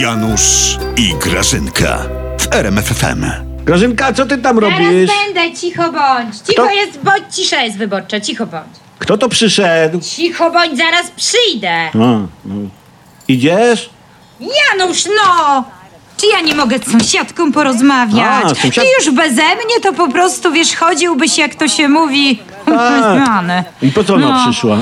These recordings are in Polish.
Janusz i Grażynka w RMFFM. Grażynka, co ty tam Teraz robisz? będę, cicho bądź. Cicho Kto- jest, bądź, cisza jest wyborcza, cicho bądź. Kto to przyszedł? Cicho bądź, zaraz przyjdę. A, no. Idziesz? Janusz, no! Czy ja nie mogę z sąsiadką porozmawiać? A, sąsiad- Ty już beze mnie to po prostu, wiesz, chodziłbyś, jak to się mówi, Tak. znany. I po co ona No. przyszła?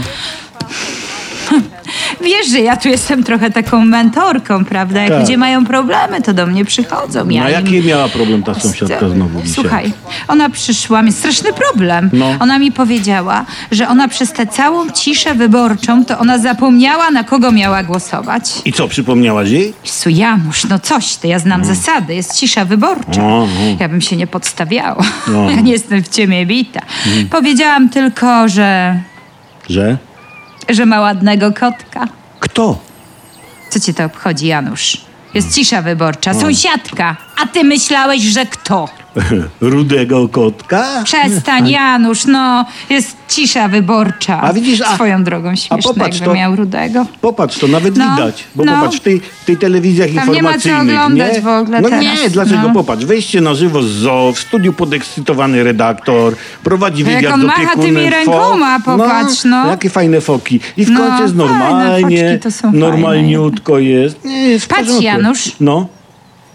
Wiesz, że ja tu jestem trochę taką mentorką, prawda? Jak Tak. ludzie mają problemy, to do mnie przychodzą. Ja No, A im- jaki miała problem ta sąsiadka znowu dzisiaj? Słuchaj, ona przyszła, mieć straszny problem. No. Ona mi powiedziała, że ona przez tę całą ciszę wyborczą, to ona zapomniała, na kogo miała głosować. I co, przypomniałaś jej? Jezu, Janusz, no coś ty, ja znam zasady, jest cisza wyborcza. No, no. Ja bym się nie podstawiała, No. Mhm. ja nie jestem w ciemię bita. Powiedziałam tylko, że, Że? że ma ładnego kotka. Kto? Co cię to obchodzi, Janusz? Jest cisza wyborcza, No. sąsiadka, a ty myślałeś, że kto? Rudego kotka? Przestań, Janusz, no, jest cisza wyborcza. A widzisz, a- Swoją drogą śmieszne, popatrz, jakby to- miał rudego. Popatrz, to nawet No, widać. Bo no. popatrz, w tej, w tej telewizjach Tam nie ma co informacyjnych. oglądać w ogóle No nie, teraz, dlaczego? no. Popatrz, wejście na żywo z zoo, w studiu podekscytowany redaktor, prowadzi No, Jak wywiad on z macha opiekunem tymi rękoma, fok. popatrz, no. Jakie fajne foki. I w No, końcu jest fajne normalnie, foczki to są normalniutko jest. Nie, jest w Patrz, porządku. Janusz. No,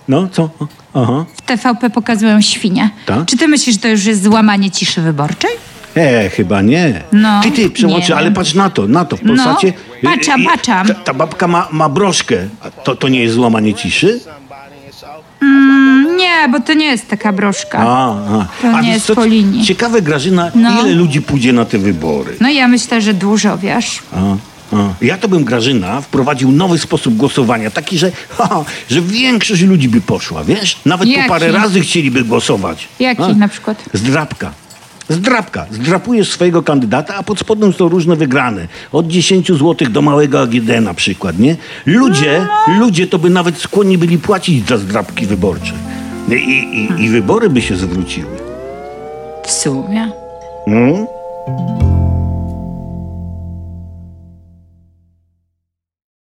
no, co? Aha. W TVP pokazują świnie. Tak? Czy ty myślisz, że to już jest złamanie ciszy wyborczej? E, chyba nie. No, ty, ty, przemoczy, nie ale wiem. patrz na to, na to w No, Polsacie. e, patrzam, e, patrzam. Ta, ta babka ma, ma broszkę. A to, to nie jest złamanie ciszy? Mm, nie, bo to nie jest taka broszka. A, a. To a nie wiesz jest co, po linii. Ciekawe, Grażyna, No. ile ludzi pójdzie na te wybory? No ja myślę, że dużo, wiesz. A, a. Ja to bym, Grażyna, wprowadził nowy sposób głosowania, taki, że, ha, ha, że większość ludzi by poszła, wiesz? Nawet po Jaki? parę razy chcieliby głosować. Jaki A. na przykład? Zdrapka. Zdrapka. Zdrapujesz swojego kandydata, a pod spodem są różne wygrane. Od 10 zł do małego AGD na przykład, nie? Ludzie, No. ludzie to by nawet skłonni byli płacić za zdrapki wyborcze. I, i, i wybory by się zwróciły. W sumie. Mm?